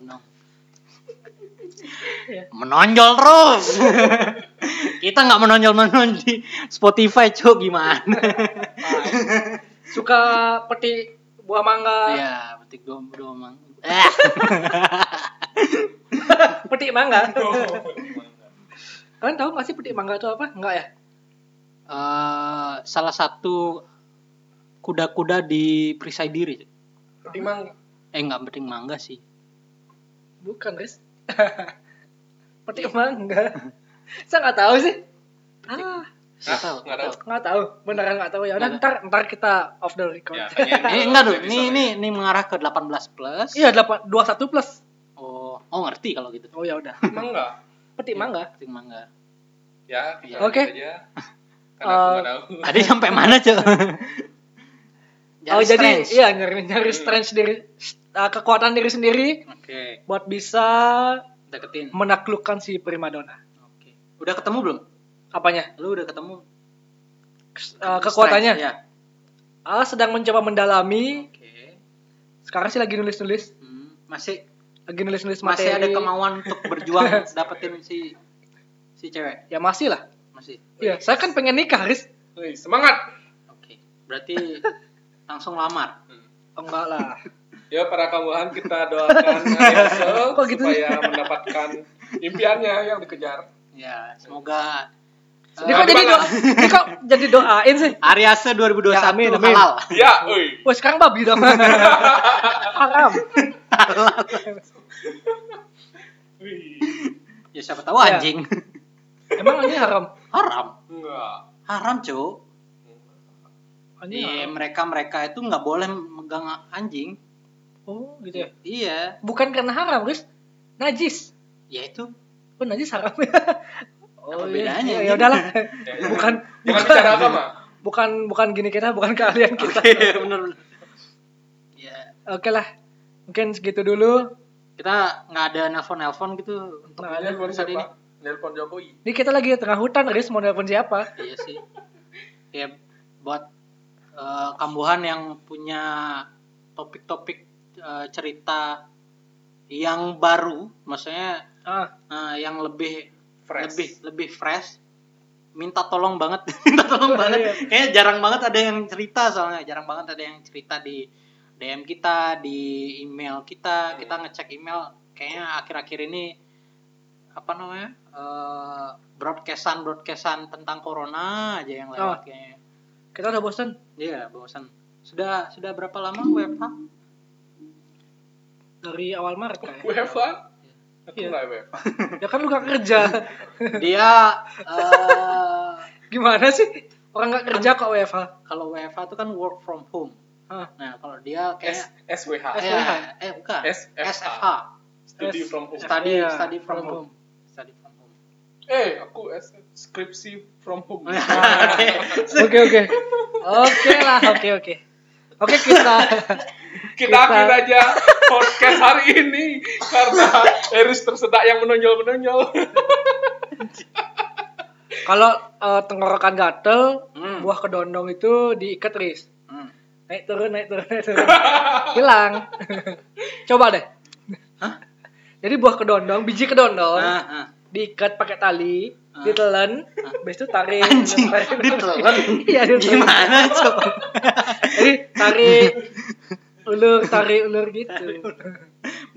C: Iya.
B: Menonjol terus. [LAUGHS] Kita nggak menonjol-menonjol di Spotify, Cuk, gimana?
C: suka peti buah mangga
B: Iya, petik dua dua mang. Eh, [LAUGHS]
C: peti
B: [LAUGHS]
C: mangga
A: Oh, gimana?
C: kalian tahu nggak sih peti mangga itu apa enggak ya
B: eh, salah satu kuda-kuda di perisai diri. Cuk.
A: Tapi mang
B: Eh, nggak penting mangga sih.
C: bukan guys [LAUGHS] peti mangga [LAUGHS] saya nggak tahu sih ah
B: Nggak
A: Ah,
B: tahu,
A: nggak
B: nggak
A: tahu.
C: nggak tahu beneran nggak tahu ya udah
B: Nggak.
C: ntar ntar kita off the record
A: Ya, tanya
B: Eh,
A: dulu,
B: enggak dong.
A: episode
B: Ini
A: ya.
B: ini ini mengarah ke 18 plus.
C: iya delapan dua satu plus
B: Oh, oh ngerti kalau gitu.
C: oh ya udah
A: Emang enggak?
C: peti
B: Iya.
C: mangga
B: Penting mangga.
A: Ya, kita
C: Oke.
A: lanjut aja. Karena aku
C: Eh,
A: nggak tahu.
B: Tadi sampai mana,
C: [LAUGHS]
B: Cuk?
C: oh jadi
B: strange.
C: iya nyari nyari
A: Hmm.
C: strength diri uh, kekuatan diri sendiri
B: Oke,
C: buat bisa
B: deketin.
C: menaklukkan si primadona
B: Oke. Udah ketemu belum?
C: apanya
B: Lu udah ketemu
C: Uh, kekuatannya
B: Strange, ya.
C: Ah, sedang mencoba mendalami
B: Oke.
C: sekarang sih lagi nulis nulis
B: Hmm, masih
C: lagi nulis nulis
B: masih
C: materi
B: ada kemauan untuk berjuang
C: [LAUGHS]
B: dapetin si si cewek.
C: ya masih lah
B: Masih.
C: Iya, saya kan pengen nikah, Riz.
A: Wih, semangat.
B: Oke.
C: [LAUGHS]
B: Berarti langsung lamar.
C: Oh, enggak lah.
B: [LAUGHS]
A: Ya para kamuhan kita
C: [LAUGHS]
A: doakan Ariel
C: Kok gitu
A: supaya mendapatkan impiannya yang dikejar.
B: Ya, semoga Eh,
C: Ini kok jadi doa, ini kok jadi doain sih?
B: Ariase 2021
C: Ya, amin, amin. [LAUGHS]
B: halal.
A: Ya, woi.
C: Wah sekarang babi
B: [LAUGHS]
C: dong. Haram.
A: Wih.
B: Ya siapa tahu
C: Ya.
B: anjing. [LAUGHS]
C: Emang anjing haram?
B: Haram.
A: Enggak.
B: Haram, Cuk.
C: Anjing
B: Iya,
C: haram.
B: mereka mereka itu nggak boleh megang anjing.
C: Oh gitu ya.
B: Iya,
C: Bukan karena haram, Riz. Najis.
B: ya itu.
C: Oh najis haram. [LAUGHS]
B: Apa
C: iya.
B: bedanya,
C: Iya,
B: anjing?
C: Ya
B: [LAUGHS]
C: udahlah.
A: Ya,
C: Bukan
A: Jangan
C: bukan
A: bicara agama.
C: bukan bukan gini kita, bukan keahlian kita. [LAUGHS]
B: benar. Ya,
C: Oke lah. Mungkin segitu dulu.
B: kita nggak ada nelpon nelpon gitu untuk
C: Nggak ada
A: Nelpon
B: episode
A: siapa?
B: ini.
A: Nelpon Jokowi.
C: Ini kita lagi di tengah hutan, Riz mau nelpon siapa?
B: Iya sih. Ya buat eh, kambuhan yang punya topik-topik eh, cerita yang baru, maksudnya
C: Ah,
B: eh, yang lebih
A: Fresh.
B: lebih lebih fresh minta tolong banget [LAUGHS] minta tolong banget kayaknya jarang banget ada yang cerita soalnya jarang banget ada yang cerita di DM kita di email kita
A: Hmm.
B: kita ngecek email kayaknya akhir-akhir ini apa namanya eh broadcastan broadcastan tentang corona aja yang lewat
C: Oh.
B: kayaknya
C: kita udah bosan.
B: iya bosan sudah sudah berapa lama WFH
C: Dari awal Maret kan.
A: UEFA? Aku
C: Iya.
A: enggak UEFA.
C: Ya kan lu gak
B: [LAUGHS]
C: kerja.
B: dia eh,
C: Gimana sih? Orang gak kerja kok WFH.
B: kalau WFH itu kan work from home
C: Ah.
B: nah kalau dia kayak
A: S SWH.
C: S-
B: Eh, eh bukan.
A: SFH.
B: SFH.
A: Study
C: S-
A: from home.
B: Study
C: Iya,
B: study Ya. from,
C: from
B: home. Study from [LAUGHS] home.
A: Eh, aku S skripsi from home.
C: Iya.
A: Nah,
B: Ah, Oke.
C: Oke oke. Oke lah, oke oke. Oke kita
B: [LAUGHS]
A: kita akhir aja podcast hari ini karena Eris tersedak yang menonjol-menonjol.
C: kalau eh, tenggorokan gatel,
B: Hmm.
C: buah kedondong itu diikat ris.
B: Hmm. [LAUGHS]
C: [LAUGHS] Naik turun, naik turun, naik turun. Hilang. Coba deh.
B: Hah?
C: Jadi buah kedondong, biji kedondong,
B: Ah, ah.
C: diikat pakai tali,
B: Ah.
C: ditelan, habis itu tarik.
B: Anjing,
C: Tarik.
B: ditelan.
C: [LAUGHS] Iya, ditelan.
B: Gimana coba?
C: [LAUGHS] Jadi tarik ulur, tarik ulur gitu.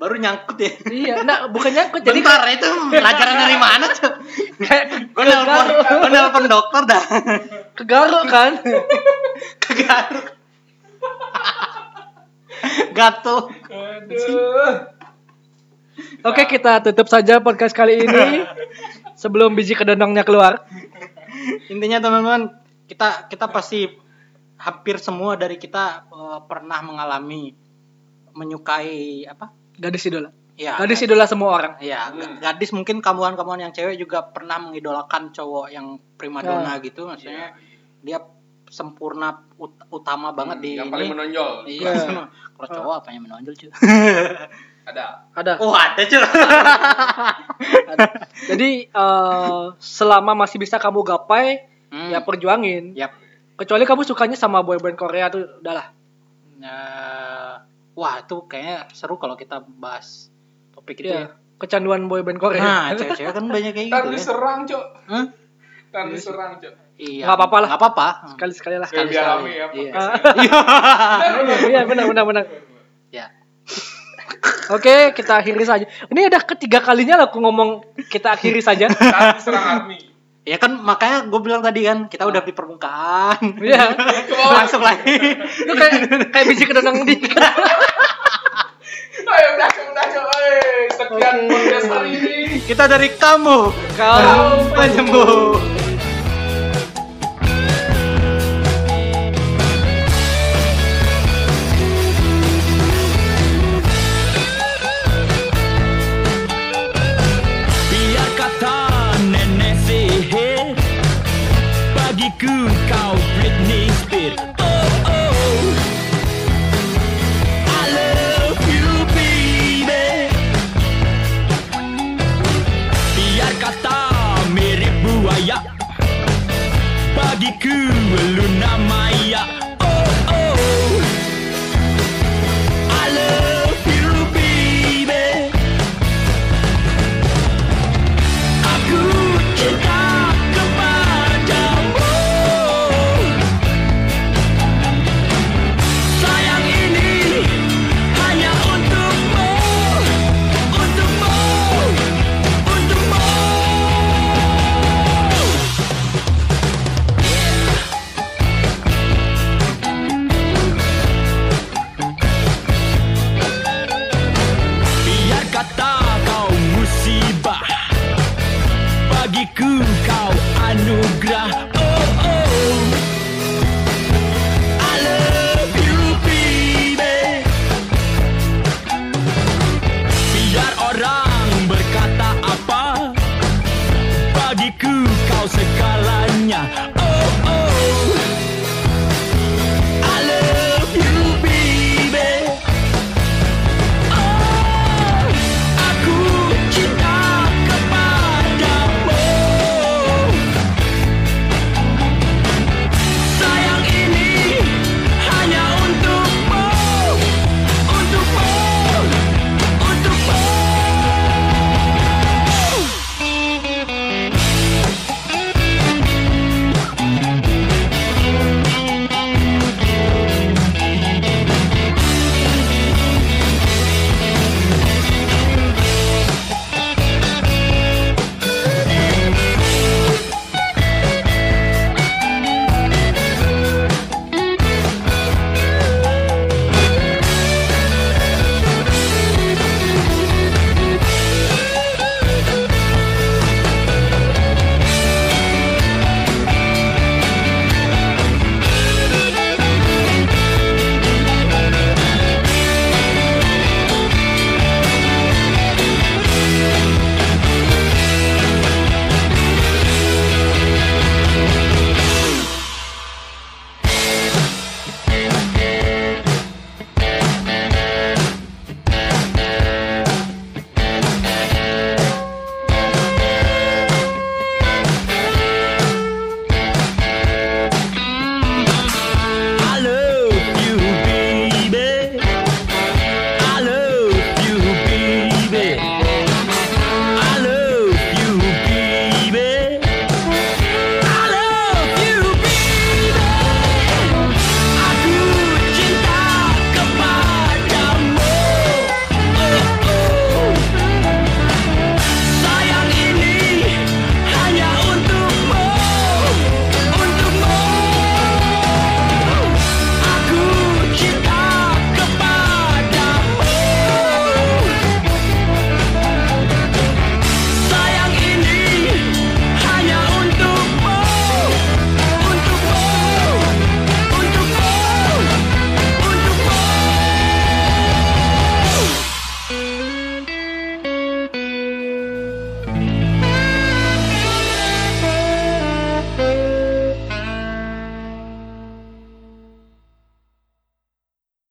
B: Baru nyangkut ya.
C: iya, nah bukan nyangkut
B: Oh, Jadi
C: jadi
B: Bentar, itu pelajaran dari mana coba?
C: kayak
B: Gue nelpon, gue nelpon dokter dah. [LAUGHS]
C: kegaruk kan.
B: Kegaruk. Gatel.
A: Aduh.
C: Oke, kita tutup saja podcast kali ini sebelum biji kedondongnya keluar.
B: Intinya teman-teman, kita kita pasti hampir semua dari kita eh, pernah mengalami menyukai apa?
C: Gadis idola.
B: Ya.
C: Gadis idola semua orang.
B: Ya,
A: Hmm.
B: ga- gadis mungkin kamuan-kamuan yang cewek juga pernah mengidolakan cowok yang primadona
C: Iya.
B: gitu, maksudnya dia sempurna ut- utama banget di
A: Iya. Hmm, yang
B: ini.
A: paling menonjol.
B: Iya.
C: Iya.
B: [LAUGHS] Kalau cowok apa yang menonjol
A: [LAUGHS]
B: cuy?
A: Ada.
C: Ada.
B: Oh ada cuy.
C: ada. Jadi eh, selama masih bisa kamu gapai,
B: Hmm.
C: ya perjuangin.
B: Yap.
C: Kecuali kamu sukanya sama boyband Korea tuh udahlah.
B: Eh, wah tuh kayaknya seru kalau kita bahas topik itu.
C: Iya. Kecanduan
B: Ya.
C: boyband Korea.
B: Nah, cewek-cewek kan banyak kayak
A: Ntar
B: gitu ya.
A: diserang, Cok.
B: Hah?
A: Ntar diserang, Cok.
B: Iya.
C: Nggak apa-apa lah.
B: Nggak apa-apa.
C: Sekali-sekali lah. Ah.
A: Biar, biar
B: sekali.
A: rame ya.
B: Iya.
A: podcastnya.
C: [LAUGHS] Iya, benar benar benar.
B: Ya.
C: Oke, kita akhiri saja. Ini udah ketiga kalinya lah aku ngomong kita akhiri saja.
B: [LAUGHS]
A: Ntar diserang army.
B: Ya kan makanya gue bilang tadi kan kita
C: Ah.
B: udah di
C: [LAUGHS]
B: permukaan.
C: Iya.
B: Langsung lagi.
C: Itu kayak kayak biji kedondong di.
A: Ayo, udah, Cok. Udah, Cok. Eh, Sekian podcast hari ini.
B: Kita dari kamu, [LAUGHS]
C: Kau
B: penyembuh.